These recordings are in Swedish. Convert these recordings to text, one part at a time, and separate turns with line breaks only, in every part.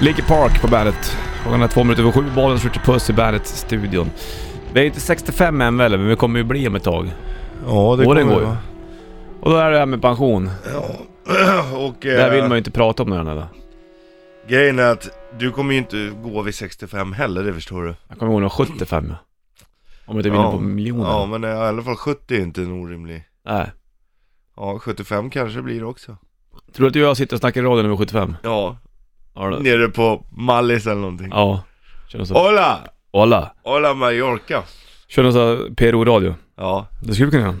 Leaky Park på bandet. Klockan är två minuter över sju, bollen skjuter puss i bandet-studion. Vi är ju inte 65 än väl, men vi kommer ju bli om ett tag.
Ja,
Åren
det kommer
går ju.
va?
Och då är det här med pension.
Ja. Och
Det här
eh,
vill man ju inte prata om nu eller?
grejen är att du kommer ju inte gå vid 65 heller, det förstår du.
Jag kommer ihåg när jag var 75 ja. Om jag inte vinner på miljoner.
Ja, men eh, i alla fall 70 är inte en orimlig.
Nej.
Ja, 75 kanske blir det också.
Tror du att du och jag sitter och snackar i radio när vi är 75?
Ja,
Ja. Alltså. då.
nere på Mallis eller någonting.
Ja. Kör någon sån...
Hola!
Hola!
Hola Mallorca.
Kör någon sån PRO-radio.
Ja,
Det skulle vi kunna göra.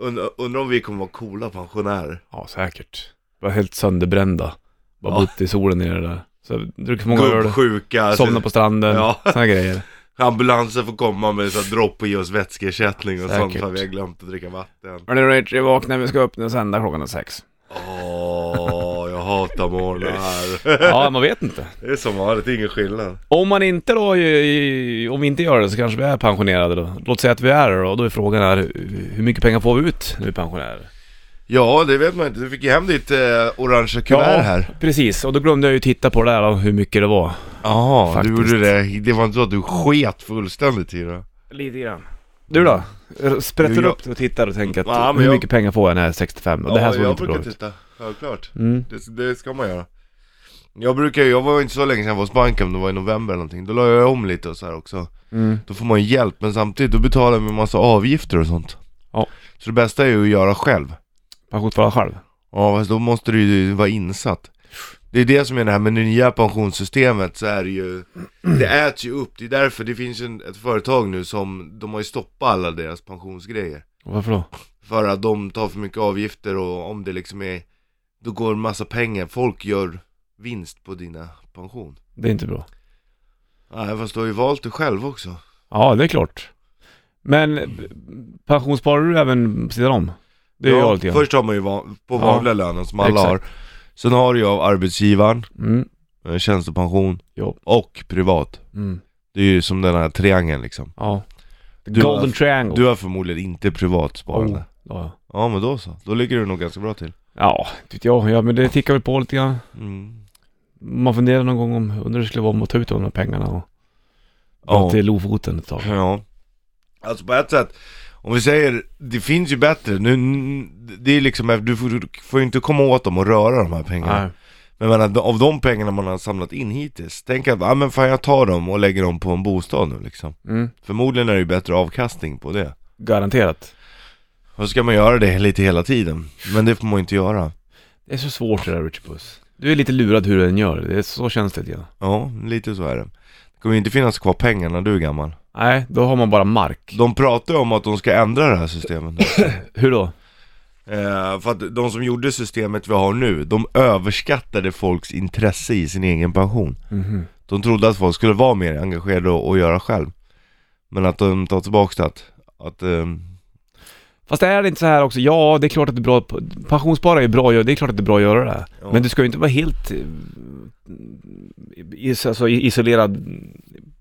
undrar undra om vi kommer vara coola pensionärer.
Ja, säkert. Bara helt sönderbrända. Bara
Ja.
bott i solen nere där. Så druckit för många öl.
Gubbsjuka, alltså,
Somna på stranden.
Ja.
Såna grejer.
ambulansen får komma med så här dropp och ge oss vätskeersättning och sånt
Säkert.
för vi har glömt att dricka vatten.
Hörni Rich, jag vaknar. Vi ska öppna och sända klockan är sex.
Åh, jag hatar morgnar.
Ja, man vet inte.
Det är som vanligt, ingen skillnad.
Om man inte då, i- i- om vi inte gör det så kanske vi är pensionerade då. Låt säga att vi är det då. Då är frågan här, hur mycket pengar får vi ut när vi är pensionärer?
Ja, det vet man inte. Du fick ju hem ditt eh, orangea kuvert här.
precis. Och då glömde jag ju titta på det där då, hur mycket det var.
Ja, du
faktiskt.
gjorde det. Det var inte så att du sket fullständigt i det.
Lite grann. Du då? Sprätter
Jo,
du
jag-
upp och tittar och tänker att
Ja, men
hur
jag-
mycket pengar får jag när jag är 65? Och det här såg
jag
inte bra
brukar
ut.
titta, självklart.
Mm.
Det, det ska man göra. Jag brukar ju- jag var ju inte så länge sedan jag var hos banken, men det var i november eller någonting. Då la jag om lite och så här också.
Mm.
Då får man ju hjälp, men samtidigt då betalar man en massa avgifter och sånt.
Ja.
Så det bästa är ju att göra själv.
Pensionsspara själv.
Ja, fast då måste du ju vara insatt. Det är det som är det här med det nya pensionssystemet så är det ju, det äts ju upp. Det är därför det finns en, ett företag nu som, de har ju stoppat alla deras pensionsgrejer.
Varför då?
För att de tar för mycket avgifter och om det liksom är, då går en massa pengar. Folk gör vinst på dina pension.
Det är inte bra.
Nej, fast du har ju valt det själv också.
Ja, det är klart. Men eh, pensionssparar du även på sidan om? Det gör jag lite grann.
Först har man ju van, på
Ja.
vanliga lönen som alla
Exakt.
har. Sen har du ju av arbetsgivaren,
Mm.
eh, tjänstepension
Jobb.
och privat.
Mm.
Det är ju som den här triangeln liksom.
Ja.
Du
Golden
har-
triangle.
Du har förmodligen inte privat sparande.
Oh, ja.
Ja men då så, då ligger du nog ganska bra till.
Ja, tyckte jag. Ja, men det tickar väl på lite grann.
Mm.
Man funderar någon gång om, undrar hur det skulle vara om att ta ut de här pengarna och
Ja.
dra till Lofoten ett tag.
Ja. Alltså på ett sätt, om vi säger, det finns ju bättre. Nu, det är liksom, du får, du får ju inte komma åt dem och röra de här pengarna.
Nej.
Men jag menar, av de pengarna man har samlat in hittills, tänk att, ja men fan jag tar dem och lägger dem på en bostad nu liksom.
Mm.
Förmodligen är det ju bättre avkastning på det.
Garanterat.
Och så ska man göra det lite hela tiden, men det får man ju inte göra.
Det är så svårt det där Richard Puss. Du är lite lurad hur du än gör. Det är så känns det lite grann.
Ja, lite så är det. Det kommer ju inte finnas kvar pengar när du är gammal.
Nej, då har man bara mark.
De pratar ju om att de ska ändra det här systemet nu.
Hur då?
eh, För att de som gjorde systemet vi har nu, de överskattade folks intresse i sin egen pension
Mhm.
De trodde att folk skulle vara mer engagerade och, och göra själv Men att de tar tillbaka det, att, att ehm,
Fast är det inte så här också, ja det är klart att det är bra, pensionsspara är bra, ja, det är klart att det är bra att göra det. här.
Ja.
Men du ska ju inte vara helt eh, is, alltså, isolerad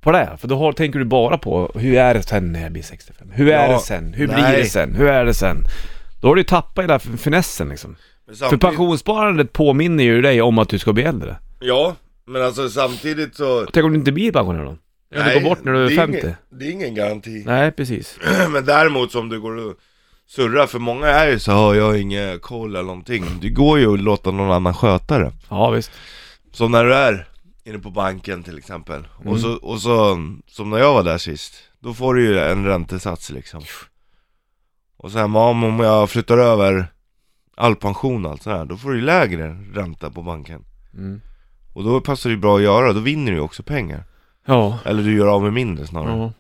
på det, här. för då har, tänker du bara på hur är det sen när jag blir 65? Hur är
Ja,
det sen? Hur blir
nej.
det sen? Hur är det sen? Då har du ju tappat i den här fin- finessen liksom.
men
För
samtidigt-
pensionssparandet påminner ju dig om att du ska bli äldre.
Ja, men alltså samtidigt så
Tänk om du inte blir pensionär då? Eller du
Nej,
går bort när du är
det
50?
Ingen, det är ingen garanti
Nej, precis.
Men däremot som du går och surrar, för många är ju så här, jag har ingen koll eller någonting Det går ju att låta någon annan sköta det
Ja, visst.
Som när du är inne på banken till exempel, och, så, och så, som när jag var där sist, då får du ju en räntesats liksom Och sen ja, men om jag flyttar över all pension och allt sådär, då får du ju lägre ränta på banken
Mm.
Och då passar det ju bra att göra, då vinner du ju också pengar
Ja.
Eller du gör av med mindre snarare
ja.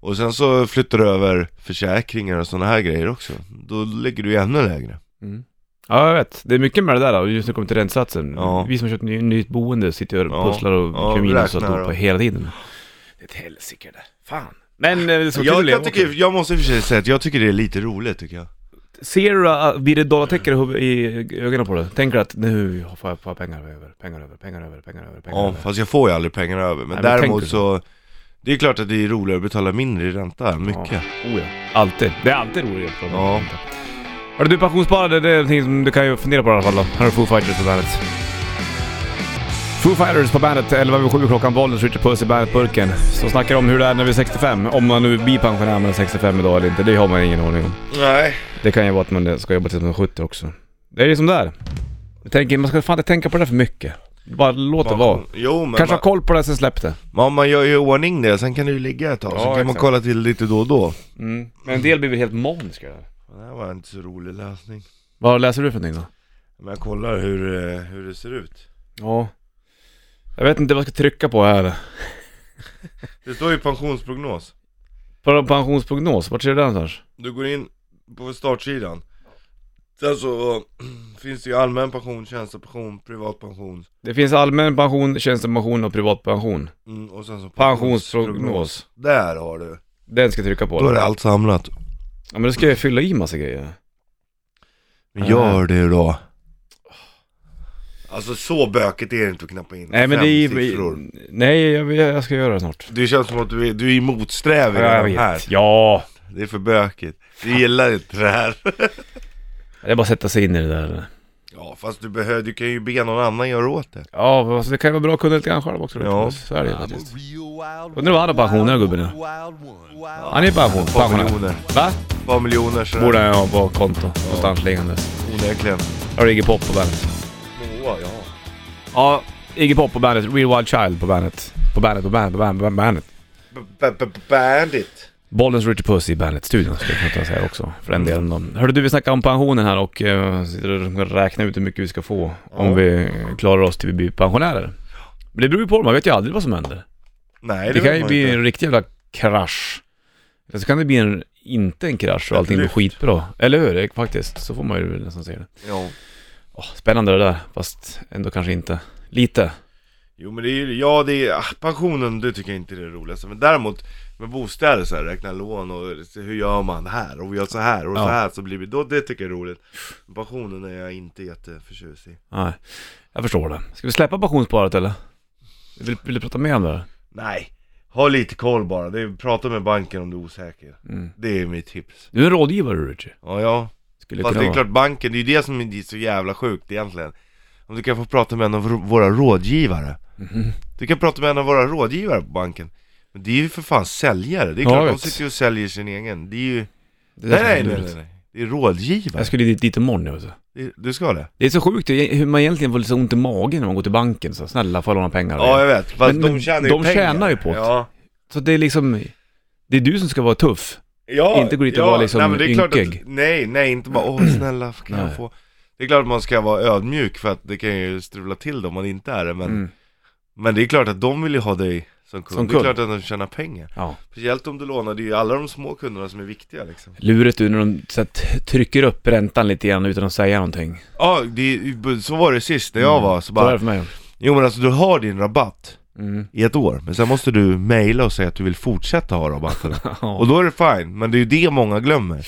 Och sen så flyttar du över försäkringar och sådana här grejer också Då ligger du ju ännu lägre
Ja, jag vet. Det är mycket med det där då, just när det kommer till räntesatsen.
Ja.
Vi som har köpt ny, nytt boende sitter ju och
Ja.
pusslar och
Ja,
kör minus och
räknar
alltihopa
och-
hela tiden. Det är ett helsike det. Fan. Men eh, det ska
jag,
kul
jag,
jag
tycker, jag måste i och för sig säga att jag tycker det är lite roligt tycker jag
Ser du, eh, blir det dollartecken i huv- i ögonen på dig? Tänker du att nu får jag, får jag pengar över, pengar över, pengar över, pengar över, pengar
Ja,
över.
fast jag får ju aldrig pengar över. Men
Nej, men tänker
däremot
du?
så, det är klart att det är roligare att betala mindre i ränta, mycket.
Ja. Oh, ja. Alltid. Det är alltid roligt att prata om
Ja.
ränta. Hörru du, pensionssparande det är någonting som du kan ju fundera på i alla fall då. Här har du Foo Fighters på bandet. Foo Fighters på bandet, 11 över 7 klockan, Bollnäs, Richard Puss i bandet-burken. Så snackar om hur det är när vi är 65, om man nu blir pensionär med 65 idag eller inte, det har man ingen aning om.
Nej.
Det kan ju vara att man ska jobba tills man är 70 också. Det är ju som där. Jag tänker, man ska fan inte tänka på det där för mycket. Bara låt det vara.
Jo men
Kanske
man,
ha koll på det sen släpp det.
man, man gör ju i ordning det, sen kan det ju ligga ett tag,
Ja,
sen kan man
exakt.
kolla till lite då och då.
Mm. Men en del blir väl helt maniska där.
Det här var inte så rolig läsning.
Vad läser du för någonting då?
Men jag kollar hur, eh, hur det ser ut.
Ja. Jag vet inte vad jag ska trycka på här.
Det står ju pensionsprognos.
På pensionsprognos, vart ser du den någonstans?
Du går in på startsidan. Sen så finns det ju allmän pension, tjänstepension, privatpension.
Det finns allmän pension, tjänstepension och privatpension.
Mm, och sen så
Pensionsprognos.
Där har du.
Den ska jag trycka på.
Då är det allt samlat.
Ja men då ska jag fylla i massa grejer.
Men gör det då. Alltså så bökigt är det inte att knappa in
Nej men
fem
det är
siffror.
Nej jag, jag ska göra det snart.
Det känns som att du är, du är motsträvig med de här.
Ja.
Det är för bökigt. Du gillar inte det här.
Det är bara att sätta sig in i det där. eller?
Ja fast du, behöver, du kan ju be någon annan göra åt det.
Ja, men alltså, det kan ju vara bra att kunna lite grann själv också.
Ja.
Ja. Så är det ju faktiskt.
Undrar vad han har pension den här gubben är.
Han är pension,
Ett par
pensionär.
miljoner.
Va?
Ett par miljoner sådär.
Borde han ha på konto någonstans liggandes.
Onekligen.
Har du Iggy Pop på bandet?
Åh ja.
Ja, Iggy Pop på bandet. Real Wild Child på bandet. På bandet, på bandet, på bandet, på bandet.
B-b-b-bandit.
Bollens Richard Puss i Bandet-studion skulle jag kunna säga också, för den delen då. Hörde du, vi snackar om pensionen här och eh, sitter och räknar ut hur mycket vi ska få om vi klarar oss till vi blir pensionärer. Men det beror ju på, man vet ju aldrig vad som händer.
Nej
Det,
det,
kan
vet
ju
man
bli
inte.
en riktig jävla krasch. Eller så kan det bli en, inte en krasch och
Ett
allting blir
lyft.
skitbra. Eller hur? Det- Faktiskt, så får man ju nästan se det.
Ja.
Åh, spännande det där, fast ändå kanske inte. Lite.
Jo men det är ju, ja det är, ah, pensionen det tycker jag inte är det roligaste Men däremot med bostäder så här, räkna lån och se, hur gör man här och vi gör så här och
Ja.
så här så blir vi, då, det tycker jag är roligt Men Pensionen är jag inte jätteförtjust i
Nej, jag förstår det. Ska vi släppa pensionssparet eller? Vill, vill du prata mer om det? där?
Nej, ha lite koll bara, det är, prata med banken om du är osäker
Mm.
Det är mitt tips
Du är en rådgivare du, Richie.
Ja ja,
Skulle
fast
kunna
det är
vara.
klart banken, det är ju det som är så jävla sjukt egentligen Om du kan få prata med en av rå- våra rådgivare
Mhm.
Du kan prata med en av våra rådgivare på banken Men det är ju för fan säljare, det är
Ja,
klart
jag
de
vet.
sitter ju och säljer sin egen, det är ju
Det är
Nej,
därför
nej,
det är
nej,
lurigt.
nej, nej. Det är rådgivare.
Jag skulle dit, dit imorgon nu. Alltså.
Det- Du ska det?
Det är så sjukt det- hur man egentligen får lite så ont i magen när man går till banken. Så, snälla, får jag låna pengar?
Ja, jag vet. Fast
Men-
de
men
tjänar ju
de
pengar.
tjänar ju på det.
Ja.
Så det är liksom... Det är du som ska vara tuff.
ja.
Inte gå dit och vara liksom
nej, men det är klart
ynkig.
att, Nej, nej, inte bara åh snälla, kan
Nej.
jag få? Det är klart att man ska vara ödmjuk för att det kan ju strula till det om man inte är det. Men,
Mm.
men det är klart att de vill ju ha dig som kund.
Som
Det är
kund.
klart att de tjänar pengar.
Ja.
Speciellt om du lånar, det är ju alla de små kunderna som är viktiga liksom.
Luret du när de så här, t- trycker upp räntan lite grann utan att säga någonting.
Ja, det, är ju- så var det sist när jag var. Så
Så är det
bara,
för mig.
jo men alltså du har din rabatt
Mm.
i ett år, men sen måste du mejla och säga att du vill fortsätta ha rabatten.
Ja.
Och då är det fine, men det är ju det många glömmer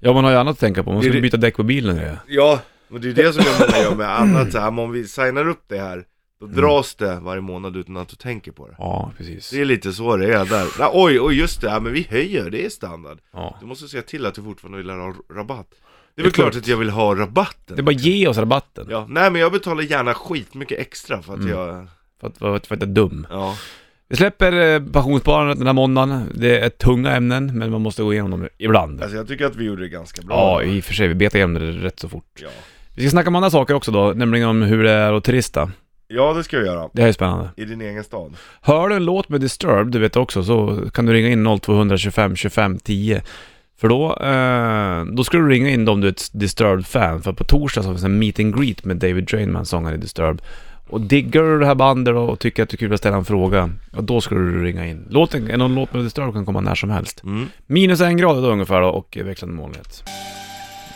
ja, man har ju annat att tänka på. Man
Det är
ska
det-
byta däck på bilen. Ja.
Ja, och det är ju det som jag menar gör med annat så här, men om vi signar upp det här Då dras det varje månad utan att du tänker på det
ja, precis.
Det är lite så det är där Nej, Oj, oj just det, ja, men vi höjer, det är standard
Ja.
Du måste se till att du fortfarande vill ha rabatt
Det är
Det är väl klart
klart.
att jag vill ha rabatten
Det är bara ge oss rabatten.
Ja, nej men jag betalar gärna skitmycket extra för att
Mm.
jag,
För, att, för, att, för att jag är dum.
ja
Vi släpper eh, pensionssparandet den här måndagen. Det är tunga ämnen, men man måste gå igenom dem ibland.
Alltså jag tycker att vi gjorde det ganska bra
Ja, i och för sig. Vi betar igenom det rätt så fort.
Ja,
Vi ska snacka om andra saker också då, nämligen om hur det är att turista.
ja det ska vi göra
Det här är spännande.
I din egen stad
Hör du en låt med Disturbed, du vet också, så kan du ringa in 0200 25 25 10. För då, eh, då ska du ringa in dem du är ett Disturbed-fan, för på torsdag så finns en meet and greet med David Drainman, sångaren i Disturbed. Och diggar du det här bandet då och tycker att det är kul att ställa en fråga, ja då ska du ringa in. Låten, någon låt med Disturbed kan komma när som helst.
mm.
Minus en grad idag ungefär då och eh, växlande molnighet.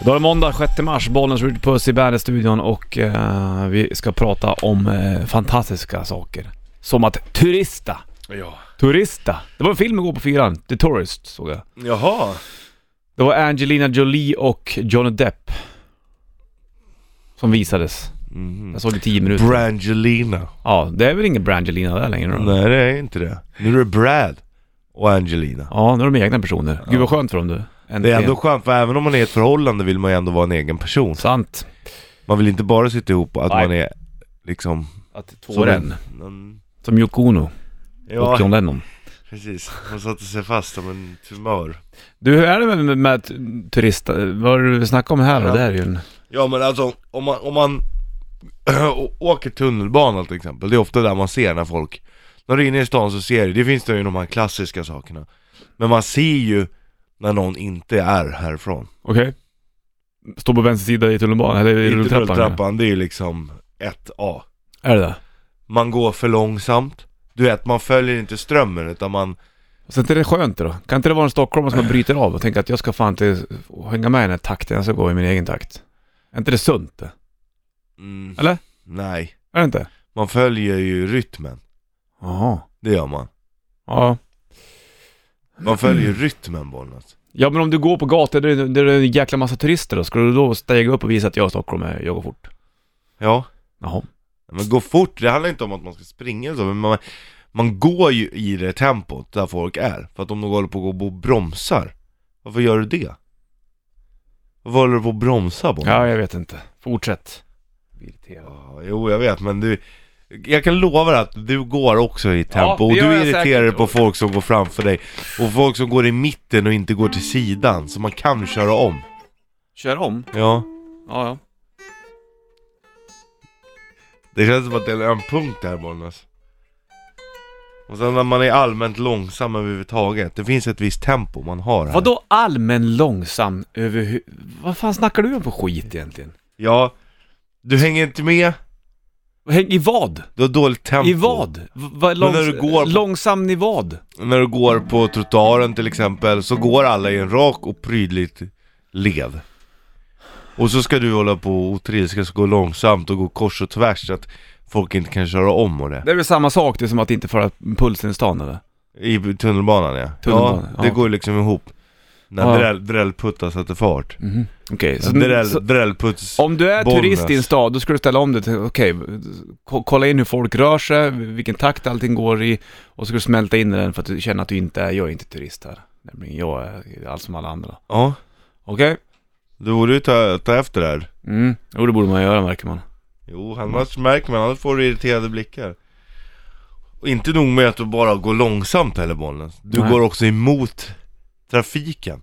Då är det måndag 6 mars, Bollnäs Ritchie Puss i Bandet-studion och eh, vi ska prata om eh, fantastiska saker. Som att turista.
Ja
Turista. Det var en film igår på fyran, The Tourist såg jag.
Jaha
Det var Angelina Jolie och Johnny Depp. Som visades.
Mhm.
Jag såg det i 10 minuter.
Brangelina
ja, det är väl ingen Brangelina där längre då?
Nej det är inte det. Nu är det Brad och Angelina.
Ja, nu är de egna personer. Gud vad skönt för dem du.
Det är
Äntligen.
ändå skönt för även om man är i ett förhållande vill man ju ändå vara en egen person.
Sant.
Man vill inte bara sitta ihop och att
Nej.
man är liksom
Att
Som
tåren,
en- en-
som Yoko Ono
Ja,
och John Lennon.
precis. Hon satte sig fast som en tumör.
Du, hur är det med, med, med tu- turist... Vad har du snackat om här då?
Ja.
Det här är ju en...
Ja men alltså, om man, om man å- åker tunnelbana till exempel, det är ofta där man ser när folk, när du är inne i stan så ser du, det finns det ju de här klassiska sakerna. Men man ser ju när någon inte är härifrån.
Okej. Står på vänster sida i tunnelbanan, eller i
Inte
rulltrappan?
rulltrappan, det är ju liksom 1A.
Är det det?
Man går för långsamt, du vet man följer inte strömmen utan man
Och sen är det skönt då? Kan inte det vara en stockholmare som bryter av och tänker att jag ska fan inte hänga med i den här takten, jag ska gå i min egen takt? Är inte det sunt det?
mm,
Eller?
Nej,
Är det inte?
man följer ju rytmen.
Jaha.
Det gör man.
Ja.
Man följer ju rytmen Bollnäs.
Ja men om du går på gator där det där det är en jäkla massa turister då, ska du då stega upp och visa att jag är stockholmare, jag går fort?
Ja.
Jaha.
Men gå fort, det handlar inte om att man ska springa eller så, men man, man går ju i det tempot där folk är. För att om de håller på att gå och bromsar, varför gör du det? Varför håller du på att bromsa på?
Ja, jag vet inte. Fortsätt. Biltv.
Ja, Jo, jag vet, men du... Jag kan lova dig att du går också i tempo
det
och
gör
du
jag
irriterar dig
säkert.
på folk som går framför dig och folk som går i mitten och inte går till sidan så man kan köra om.
Kör om.
Ja,
Ja, ja.
det känns som att det är en punkt där Bollnäs. Och sen när man är allmänt långsam överhuvudtaget, det finns ett visst tempo man har här.
Vadå allmän långsam över hu- Vad fan snackar du om för skit egentligen?
Ja, du hänger inte med,
Häng i vad?
du har dåligt tempo.
I vad? V- vad
Men
långs-
när du går på-
Långsam i vad?
När du går på trottoaren till exempel så går alla i en rak och prydligt led. Och så ska du hålla på och trilska, ska gå långsamt och gå kors och tvärs så att folk inte kan köra om och det.
Det är väl samma sak, det är som att inte föra pulsen i stan eller?
I tunnelbanan ja.
Tunnelbanan,
ja, det
ja.
går ju liksom ihop. När
Ja.
dräll, drällputtar sätter fart.
Mhm. Okej, så,
Dräll,
så
drällputts...
om du är
Bollnäs.
turist i en stad, då ska du ställa om det till, okej, ko- kolla in hur folk rör sig, vilken takt allting går i och så ska du smälta in i den för att du känner att du inte är, jag är inte turist här. Nämligen, jag är allt som alla andra.
Ja,
Okej?
du borde ju ta, ta efter det här.
Mm. Jo, det borde man göra märker man.
Jo, annars märker man, annars får du irriterade blickar. Och inte nog med att du bara går långsamt heller bollen. Du
Nej.
går också emot trafiken.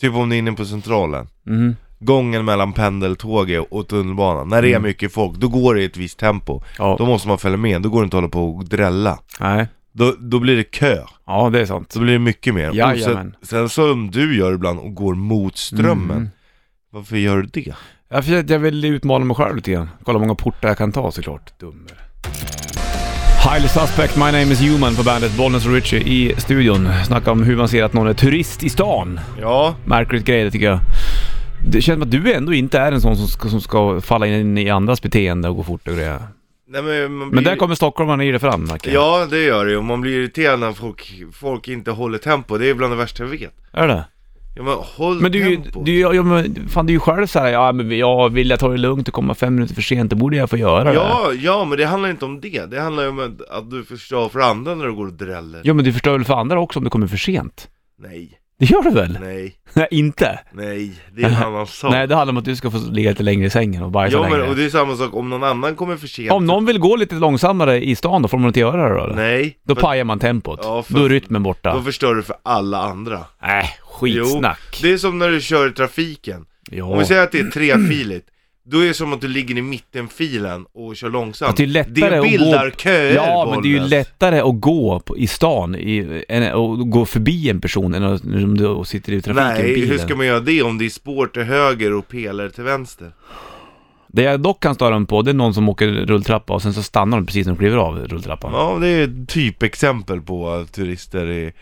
Typ om du är inne på centralen.
Mhm.
Gången mellan pendeltåget och tunnelbanan. När det är
Mm.
mycket folk, då går det i ett visst tempo.
Ja.
Då måste man följa med, då går det inte att hålla på och drälla.
Nej.
Då, då blir det kö.
Ja, det är sant.
Så blir det mycket mer. Och sen,
Jajamän.
sen som du gör ibland och går mot strömmen.
Mm.
Varför gör du det?
Ja, för jag, jag vill utmana mig själv lite grann. Kolla hur många portar jag kan ta såklart. Dummer. Highly Suspect, My Name Is Human på bandet Bollnäs och Richie i studion. Snacka om hur man ser att någon är turist i stan.
Ja,
Märkligt grej det tycker jag. Det känns som att du ändå inte är en sån som ska, som ska falla in i andras beteende och gå fort och grejer.
nej men... man
Men
blir-
där kommer stockholmarna i det fram märker jag.
Ja, det gör det ju. Man blir irriterad när folk, folk inte håller tempo. Det är bland det värsta jag vet.
Är det?
Ja, men håll
Men du, är ju-
tempo.
du, ja, ja, men fan du är ju själv såhär, ja men jag vill jag ta det lugnt och komma fem minuter för sent, det borde jag få göra det.
Ja, ja, men det handlar inte om det. Det handlar ju om att, att du förstör för andra när du går och dräller.
Ja men du förstör väl för andra också om du kommer för sent?
Nej,
Det gör du väl?
nej,
Nej, inte?
nej. Det är en annan sak.
Nej, det handlar om att du ska få ligga lite längre i sängen och bajsa
ja, men
längre.
och det är samma sak om någon annan kommer för sent.
Om någon vill gå lite långsammare i stan då, får man inte göra det då? eller?
Nej,
Då
för-
pajar man tempot.
Ja, för-
Då är rytmen borta.
då förstör du för alla andra.
Nej, skitsnack.
Det är som när du kör i trafiken. Om
Ja.
vi säger att det är trefiligt. Då är det som att du ligger i mittenfilen och kör långsamt.
Att det är lättare att gå-
bildar köer
Ja, men det är ju
Bollnäs.
lättare att gå på, i stan i, än och gå förbi en person än att- om du sitter i trafiken i
Nej,
bilen.
hur ska man göra det om det är spår till höger och pelare till vänster?
Det jag dock kan störa mig på, det är någon som åker rulltrappa och sen så stannar de precis när de kliver av rulltrappan.
Ja, det är ett typexempel på att turister i...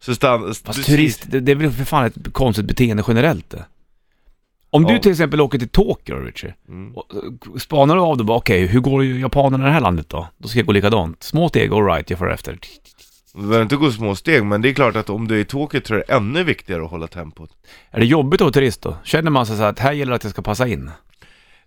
Så stan...
Fast
precis.
turist, det, det är väl för fan ett konstigt beteende generellt det. Om du
Ja.
till exempel åker till Tokyo, Richard,
Mm.
och och spanar du av det bara, okej, hur går ju japanerna i det här landet då? Då ska jag gå likadant. Små steg, alright, jag får efter.
Du behöver inte gå små steg, men det är klart att om du är i Tokyo tror jag det är ännu viktigare att hålla tempot.
Är det jobbigt att vara turist då? Känner man sig så här att här gäller det att jag ska passa in?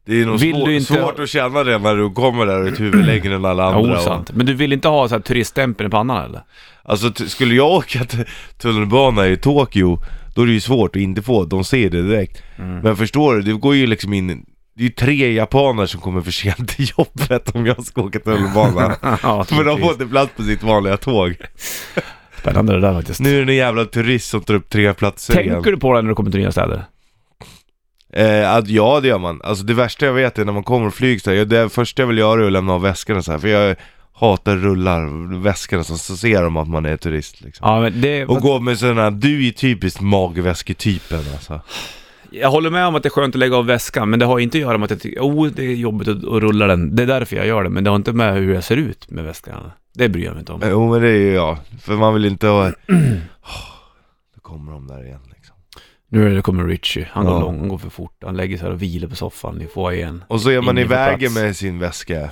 Det är nog
Vill
svår,
du inte-
svårt att känna det när du kommer där och är ett huvud längre än alla
Ja,
andra.
osant. Men du vill inte ha så här turiststämpel i pannan eller?
Alltså t- skulle jag åka t- tunnelbana i
Mm.
Tokyo, då är det ju svårt att inte få, de ser det direkt. Men förstår du, det går ju liksom in Det är ju tre japaner som kommer för sent till jobbet om jag ska åka tunnelbana.
ja, typ.
För de får
precis.
inte plats på sitt vanliga tåg.
Spännande det där faktiskt.
Nu är det någon jävla turist som tar upp tre platser igen.
Tänker du på det när du kommer till nya städer?
Eh, att, ja det gör man. Alltså det värsta jag vet är när man kommer och flyger så här, jag- det första jag vill göra är att lämna av väskorna så här, för jag hatar rullar väskorna så, så ser de att man är turist liksom.
Ja, men det...
Och gå med sådana, du är typiskt magväsketypen alltså.
Jag håller med om att det är skönt att lägga av väskan, men det har inte att göra med att jag tycker, oh, det är jobbigt att, att rulla den. Det är därför jag gör det, men det har inte med hur jag ser ut med väskan. Det bryr jag mig inte om.
Eh, Jo men det är ju jag, för man vill inte ha... Då kommer de där igen liksom.
Nu är det kommer Richie, han går
Ja.
lång, han går för fort, han lägger sig här och vilar på soffan i foajén.
Och så är man
Ingen får
i vägen
plats.
med sin väska. Då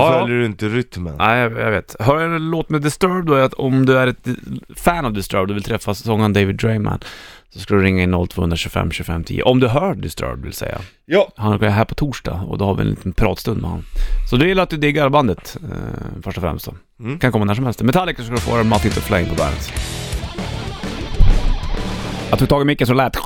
Ja, ja.
följer du inte rytmen.
Nej, jag, jag vet. Hör en låt med Disturbed då, är att om du är ett fan av Disturbed och vill träffa sångaren David Drayman, så ska du ringa in 0225 25 10. Om du hör Disturbed vill säga.
Ja.
Han är här på torsdag och då har vi en liten pratstund med honom. Så det gäller att du diggar bandet, eh, först och främst då.
Mm.
Kan komma när som helst. Metallica ska du få Matt Into Flame på bandet. Jag tog tag i micken så det lät...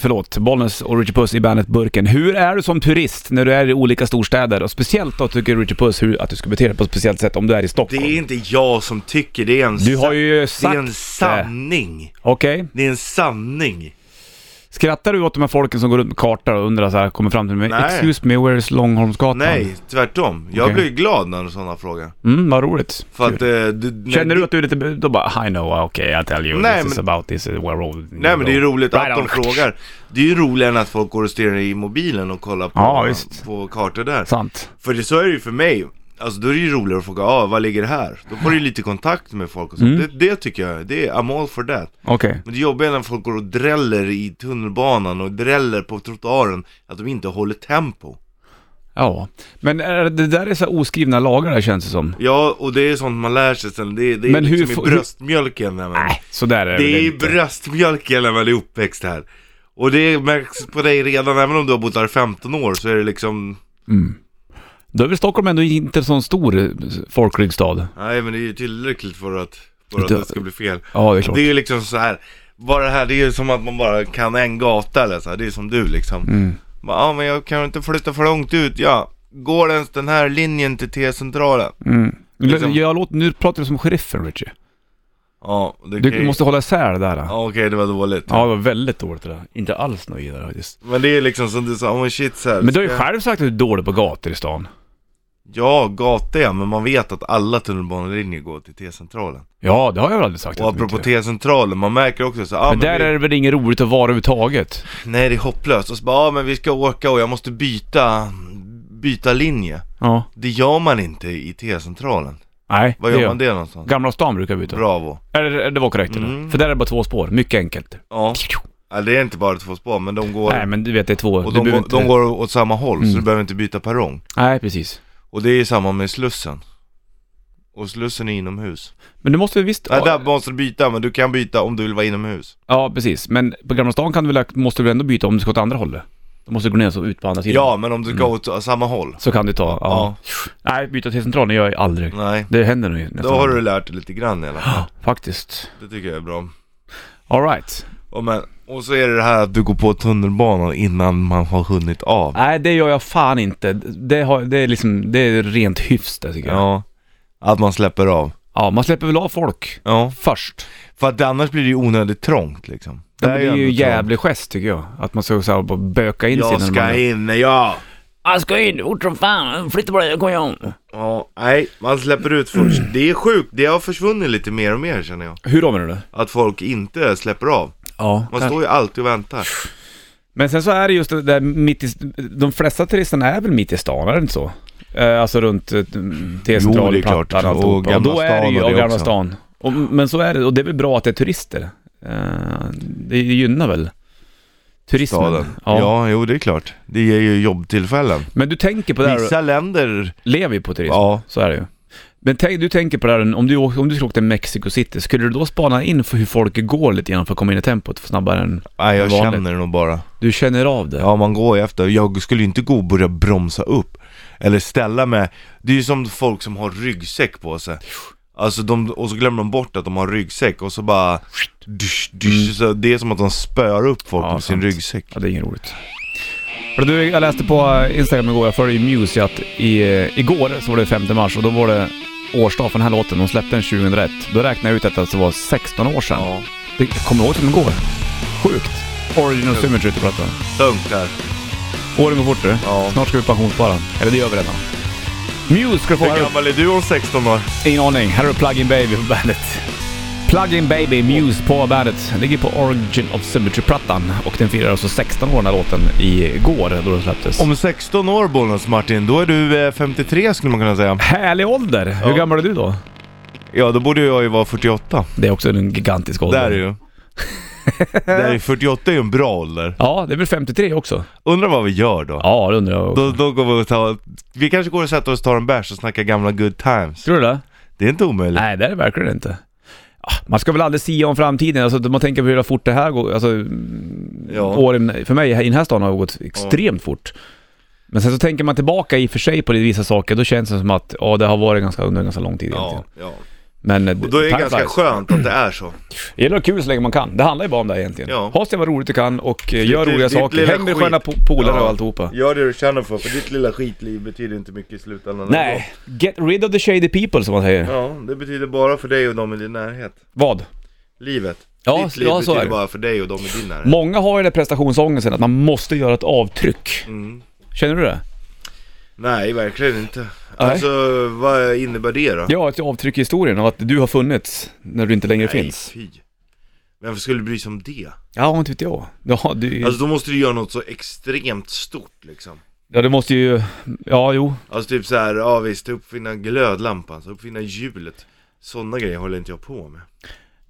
Förlåt. Bollnäs och Richie Puss i bandet Burken. Hur är du som turist när du är i olika storstäder? Och speciellt då tycker Richie Puss hur, att du ska bete dig på ett speciellt sätt om du är i
Det
Stockholm.
är inte jag som tycker, det är en,
Du har ju
det är
sagt...
en sanning.
Okej.
Det är en sanning.
Skrattar du åt de här folken som går runt med kartor och undrar så här, kommer fram till mig.
Nej.
Excuse me, where is Långholmsgatan?
Nej, tvärtom. Jag
Okej.
blir glad när sådana frågar.
Mm, vad roligt.
För att, eh, du,
Känner
nej,
du att du är lite... Då bara, I know, ah, okay, I tell you,
Nej,
this is
men-
about this, uh, we're all...
Nej men det är ju roligt
Right
att de
on.
frågar. Det är ju roligare än att folk går och stirrar i mobilen och kollar på,
Ja, visst.
på kartor där.
Sant.
För det, så är det ju för mig. Alltså då är det ju roligare att fråga, ah, vad ligger det här? Då får du ju lite kontakt med folk och så.
Mm.
Det, det tycker jag, det är, I'm all for that.
Okej.
Men det jobbiga är när folk går och dräller i tunnelbanan och dräller på trottoaren, att de inte håller tempo.
Ja, men är det det där är så här oskrivna lagar det känns det som.
Ja, och det är sånt man lär sig sen. Det, det är
Men hur
liksom
får-
i
hur-
bröstmjölken. när man-
Så där är det,
Det
väl
är
inte.
bröstmjölken när man är uppväxt här. Och det märks på dig redan, även om du har bott här i 15 år så är det liksom...
Mm. Då är väl Stockholm ändå inte en sån stor eh, folklig stad?
Nej men det är ju tillräckligt för att, för att
Det-
det ska bli fel.
Ja, det är klart.
Det är ju liksom så här. Bara det här, det är ju som att man bara kan en gata eller så här. Det är som du liksom.
Mm.
Bara, Ja men jag kan inte flytta för långt ut, ja. Går ens den här linjen till T-centralen?
Mm.
Liksom-
L- Jag låter, nu pratar du som sheriffen Richie.
Ja, det
Du
kan ju-
måste hålla isär det där. Ja.
Ja, Okej, det var dåligt.
ja, det var väldigt dåligt det där. Inte alls nöjd där faktiskt.
Men det är liksom som du sa, oh shit så här.
Men du har ju
ska-
själv sagt att du är dålig på gator i stan.
Ja, gata ja, men man vet att alla tunnelbanelinjer går till T-centralen.
Ja, det har jag väl aldrig sagt.
Och
att du
apropå
inte gör.
T-centralen, man märker också så, ah,
men där
vi,
är det väl inget roligt att vara överhuvudtaget?
Nej det är hopplöst, och så bara, ah, men vi ska åka och jag måste byta, byta linje.
Ja.
Det gör man inte i T-centralen.
Nej,
Var gör man det någonstans?
Gamla stan brukar byta.
Bravo.
Eller, det var korrekt eller?
Mm.
För där är det bara två spår, mycket enkelt.
Ja. ja, det är inte bara två spår, men de går,
Nej men du vet det är två,
och
du
de, går
behöver inte...
de går åt samma håll, så
Mm.
du behöver inte byta perrong.
Nej precis.
Och det är ju samma med Slussen. Och Slussen är inomhus.
Men du måste väl visst...
Nej,
Ja,
där måste du byta, men du kan byta om du vill vara inomhus.
ja precis, men på Gamla stan kan du väl, måste du väl ändå byta om du ska åt andra hållet? Då måste du gå ner så ut på andra sidan.
Ja, men om du ska åt samma håll.
Så kan du ta, ja. Nej byta till centralen gör jag aldrig.
Nej.
Det händer nog nästan.
Då har du lärt dig lite grann i alla fall.
Faktiskt.
Det tycker jag är bra.
Alright.
Och, men, och så är det det här att du går på tunnelbanan innan man har hunnit av.
Nej det gör jag fan inte. Det, har, det är liksom, det är rent hyfs det tycker jag.
Ja. Att man släpper av.
Ja, man släpper väl av folk
Ja.
först.
För att annars blir det ju onödigt trångt liksom.
Ja,
Där
men det är
ändå
ju
trångt.
jävlig gest tycker jag. Att man ska så här, bara böka in sig.
Jag
när man
ska
är-
in, ja.
Jag ska in fort som fan, flytta på dig, jag kommer igång.
Ja, nej, man släpper ut först. Det är sjukt, det har försvunnit lite mer och mer känner jag.
Hur då menar du?
Att folk inte släpper av.
Ja,
Man står ju alltid och väntar.
Men sen så är det just det där mitt i, de flesta turisterna är väl mitt i stan, är det inte så? Eh, alltså runt eh,
Jo, det
T-centralen,
är klart.
Plattan,
Och
alltihopa.
Gamla
då är det ju,
stan och
och
det
Gamla
också.
stan. Och, men så är det, och det är väl bra att det är turister. Eh, det gynnar väl turismen.
Staden. Ja.
Ja.
jo det är klart. Det ger ju jobbtillfällen.
Men du tänker på det här,
Vissa länder,
lever ju på turism,
ja.
så är det ju. Men tänk, du tänker på det här, om du, åk- om du skulle åka till Mexico City, skulle du då spana in för hur folk går lite grann för att komma in i tempot för snabbare än...
Nej jag
Vanligt.
känner det nog bara.
Du känner av det?
Ja, man går ju efter. Jag skulle ju inte gå och börja bromsa upp. Eller ställa mig. Det är ju som folk som har ryggsäck på sig. Alltså de, och så glömmer de bort att de har ryggsäck och så bara... Mm. Dysch, dysch, så det är som att de spöar upp folk
Ja,
med sin
sant.
ryggsäck.
Ja, det är inget roligt. För du, jag läste på Instagram igår, jag följer ju Muse, att i, igår så var det 5 mars och då var det årsdag för den här låten. De släppte den 2001. Då räknade jag ut att det alltså var 16 år sedan.
Ja.
Det jag kommer ihåg som igår. Sjukt. Original Symmetry heter plattan.
Tungt där.
Åren går fort du.
Ja.
Snart ska vi pensionsspara. Eller det gör vi redan. Muse ska du få.
Hur
Här,
gammal är du om 16 år?
ingen aning. Här är Plug-In Baby på bandet. Plug-In Baby, Muse på bandet. Ligger på Origin of Symmetry-plattan. Och den firar alltså 16 år den här låten igår då den släpptes.
Om 16 år Bonus Martin, då är du eh, 53 skulle man kunna säga.
Härlig ålder! Hur
Ja.
gammal är du då?
Ja, då borde jag ju vara 48.
Det är också en gigantisk ålder.
Där är ju. Där är 48 är ju en bra ålder.
Ja, det är väl 53 också.
Undrar vad vi gör då?
Ja, det undrar jag.
Då, då går vi och tar... Vi kanske går och sätter oss och tar en bärs och snackar gamla good times.
Tror du det?
Det är inte omöjligt.
Nej, det är det verkligen inte. Ja, Man ska väl aldrig sia om framtiden, alltså man tänker på hur fort det här går, alltså mm,
Ja.
åren för mig här i den här stan har gått extremt fort. Men sen så tänker man tillbaka i och för sig på vissa saker, då känns det som att ja, det har varit ganska, under en ganska lång tid egentligen.
Ja, ja.
Men eh,
Och då är det ganska skönt att det är så.
Det gäller att ha kul så länge man kan, det handlar ju bara om det här egentligen.
Ja.
Ha sig vad roligt du kan och eh,
Ditt-
gör roliga
ditt
saker,
lilla
häng med
skit.
sköna po- polare
Ja.
och alltihopa.
Gör det du känner för, för ditt lilla skitliv betyder inte mycket i slutändan.
Nej, get rid of the shady people som man säger.
Ja, det betyder bara för dig och dem i din närhet.
Vad?
Livet.
Ja,
ditt liv
ja, så är
betyder
det. Mm.
bara för dig och dem i din närhet.
Många har ju den här prestationsångesten att man måste göra ett avtryck.
Mm.
Känner du det?
Nej, verkligen inte. Alltså, vad innebär det då?
Ja, ett avtryck i historien av att du har funnits när du inte längre finns.
fy. Vem skulle bry sig om det?
Ja, inte vet jag. Ja, du,
Alltså då måste du göra något så extremt stort liksom.
ja, det måste ju... Ja, jo.
Alltså typ så här, ja visst, uppfinna glödlampan, så uppfinna hjulet. Sådana grejer håller inte jag på med.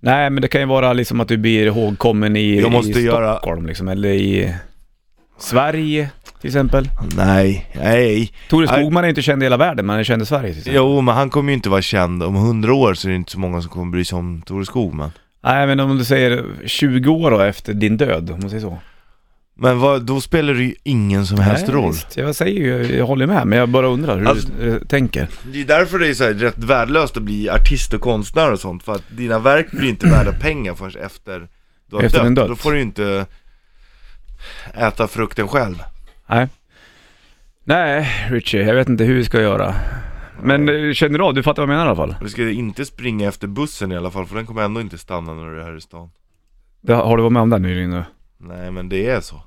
Nej, men det kan ju vara liksom att du blir ihågkommen i,
Jag måste
i
göra-
Stockholm liksom, eller i Sverige till exempel.
Nej, nej.
Thore
Nej.
Skogman är inte känd i hela världen, men han är känd i Sverige till exempel.
Jo, men han kommer ju inte vara känd. Om hundra år så är det inte så många som kommer bry sig om Thore Skogman.
Nej, men om du säger 20 år då efter din död, om man säger så.
Men vad, då spelar det ju ingen som helst
Nej,
roll.
visst. Jag säger ju, jag håller med, men jag bara undrar hur
Alltså-
du eh, tänker.
Det är därför det är så här rätt värdelöst att bli artist och konstnär och sånt, för att dina verk blir inte värda pengar förrän efter du har
Efter
dött.
din död.
Då får du ju inte äta frukten själv.
Nej. Nej, Richie, jag vet inte hur vi ska göra. Men eh, känner du av, du fattar vad jag menar i alla fall?
Du ska inte springa efter bussen i alla fall, för den kommer ändå inte stanna när du är här i stan.
Det, har du varit med om det här nyligen nu?
Nej men det är så.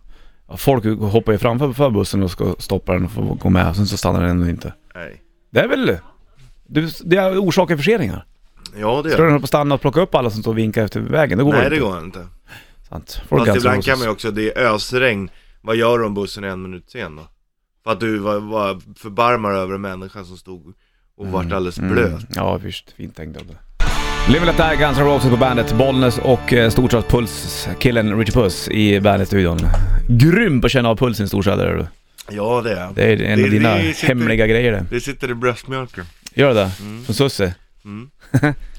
Ja, Folk hoppar ju framför för bussen och ska stoppa den och få gå med, sen så stannar den ändå inte.
Nej.
Det är väl... Du, det är orsakar förseningar.
Ja det
Tror du
gör
den håller på att stanna och plocka upp alla som står och vinkar efter vägen? Det går
Nej
inte.
det går inte.
Sant. Folk
Fast
alltså
ibland
rosas.
kan man ju också, det är ösregn. Vad gör du om bussen är en minut sen då? För att du var, var förbarmar över en människa som stod och vart alldeles blöt.
Mm. Ja, visst. Fint tänkt av dig. Live Let Die, Guns N' Roses på bandet, Bollnäs och eh, Storstadspuls-killen Richie Puss i bandet-studion. Grym på att känna av pulsen i storstäder är du.
Ja det är
Det är en
Det-
av dina
det sitter- Mm.
hemliga grejer det.
Det sitter i bröstmjölken.
Gör det? Från Susse?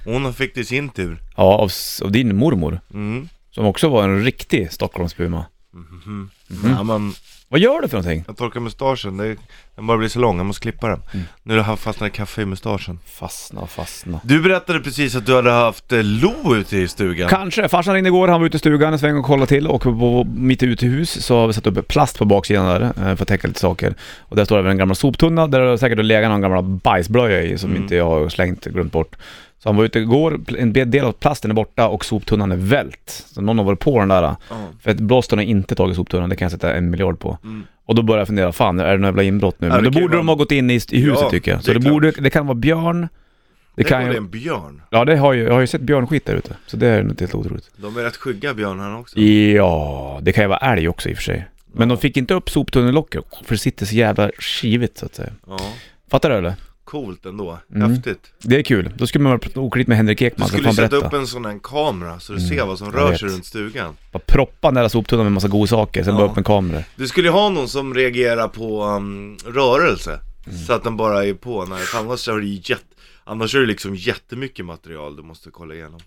Hon fick det i sin tur.
Ja, av, s- av din mormor.
Mm.
Som också var en riktig Stockholmspuma. Mm.
Ja, men
Vad gör du för någonting?
jag torkar mustaschen, det, den bara blir så lång, jag måste klippa den.
Mm.
Nu har jag fastnat kaffe i mustaschen.
Fastna, fastna.
Du berättade precis att du hade haft eh, Lo ute i stugan.
Kanske. Farsan ringde igår, han var ute i stugan en sväng och kollade till och på mitt utehus så har vi satt upp plast på baksidan där eh, för att täcka lite saker. Och där står även en gammal soptunna där det säkert har legat någon gammal bajsblöja i
Mm.
som inte jag har slängt, glömt bort. Så han var ute igår, en del av plasten är borta och soptunnan är vält. Så någon har varit på den där.
Ja.
För att blåsten har inte tagit soptunnan, det kan jag sätta en miljard på. Och då börjar jag fundera, fan är det något jävla inbrott nu?
Mm. Ja,
Men
det
då
kan
borde
ju
de
vara-
ha gått in i, i huset
Ja,
tycker jag.
det
Så
är
det, borde, det kan vara björn. Det,
Det
kan
var
ju...
det en björn.
Ja det har ju, jag har ju sett björnskit där ute. Så det är något helt otroligt.
De är rätt skygga björnarna också.
Ja, det kan ju vara älg också i och för sig. Men de fick inte upp soptunnellocket för det sitter så jävla skivigt så att säga.
Ja.
Fattar du eller?
Coolt ändå,
Mm.
häftigt.
Det är kul. Då skulle man vara på oklipp med Henrik
Du
Ekman, så
skulle
fan
sätta
berätta. Mm,
upp en sån här kamera så du ser vad som
jag
rör
vet.
sig runt stugan.
Bara proppa nära soptunnan med massa godsaker, sen
Ja.
bara upp med kameror.
Du skulle ju ha någon som reagerar på um, rörelse.
Mm.
Så att den bara är på när annars är det ju jätt... Annars är det liksom jättemycket material du måste kolla igenom.